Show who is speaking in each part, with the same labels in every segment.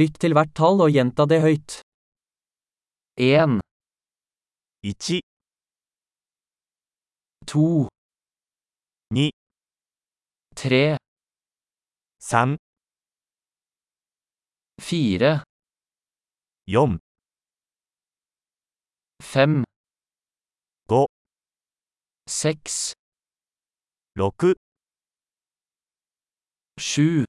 Speaker 1: Lytt til hvert tall og gjenta det høyt. 1,
Speaker 2: 1、
Speaker 1: 2,
Speaker 2: 2、
Speaker 1: 3,
Speaker 2: 3、
Speaker 1: 4,
Speaker 2: 4、
Speaker 1: 5,
Speaker 2: Gå.
Speaker 1: 6,
Speaker 2: 6、
Speaker 1: 7,
Speaker 2: 7、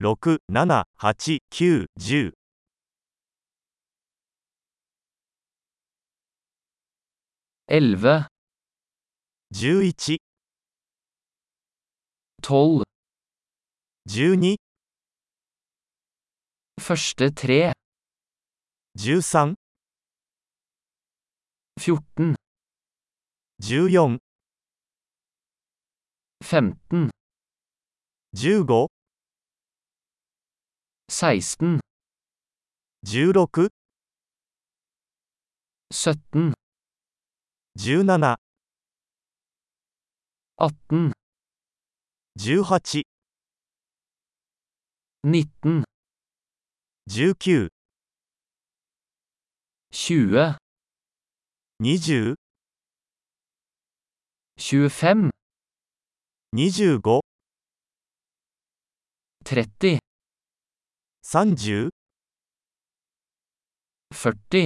Speaker 2: 6、7、8、9、10、
Speaker 1: 11,
Speaker 2: 11、
Speaker 1: 12,
Speaker 2: 12、
Speaker 1: første 3,
Speaker 2: 13、
Speaker 1: 14,
Speaker 2: 14、
Speaker 1: 15,
Speaker 2: 15、
Speaker 1: 16,
Speaker 2: 16、
Speaker 1: 17,
Speaker 2: 17、
Speaker 1: 18,
Speaker 2: 18、
Speaker 1: 19,
Speaker 2: 19、
Speaker 1: 20,
Speaker 2: 20、
Speaker 1: tjuefem,
Speaker 2: 25、
Speaker 1: tretti,
Speaker 2: 30、
Speaker 1: førti,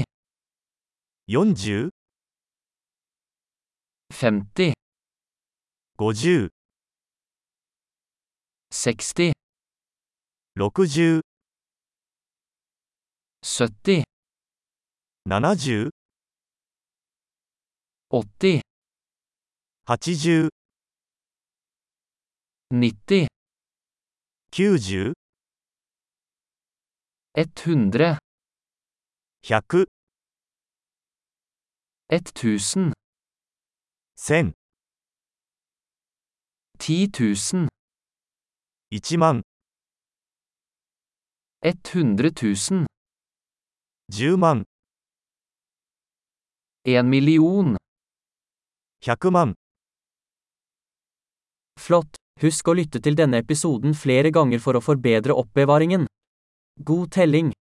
Speaker 2: 40、
Speaker 1: femti,
Speaker 2: 50、
Speaker 1: seksti,
Speaker 2: 60、
Speaker 1: sytti,
Speaker 2: 70、
Speaker 1: åtti,
Speaker 2: 80、
Speaker 1: nitti,
Speaker 2: 90、
Speaker 1: ett hundre,
Speaker 2: 100、
Speaker 1: ett tusen,
Speaker 2: 1000、
Speaker 1: ti tusen,
Speaker 2: 1万、
Speaker 1: ett hundre tusen,
Speaker 2: 10万、
Speaker 1: en million.
Speaker 2: 100万。
Speaker 1: Flott! Husk å lytte til denne episoden flere ganger for å forbedre oppbevaringen. God telling!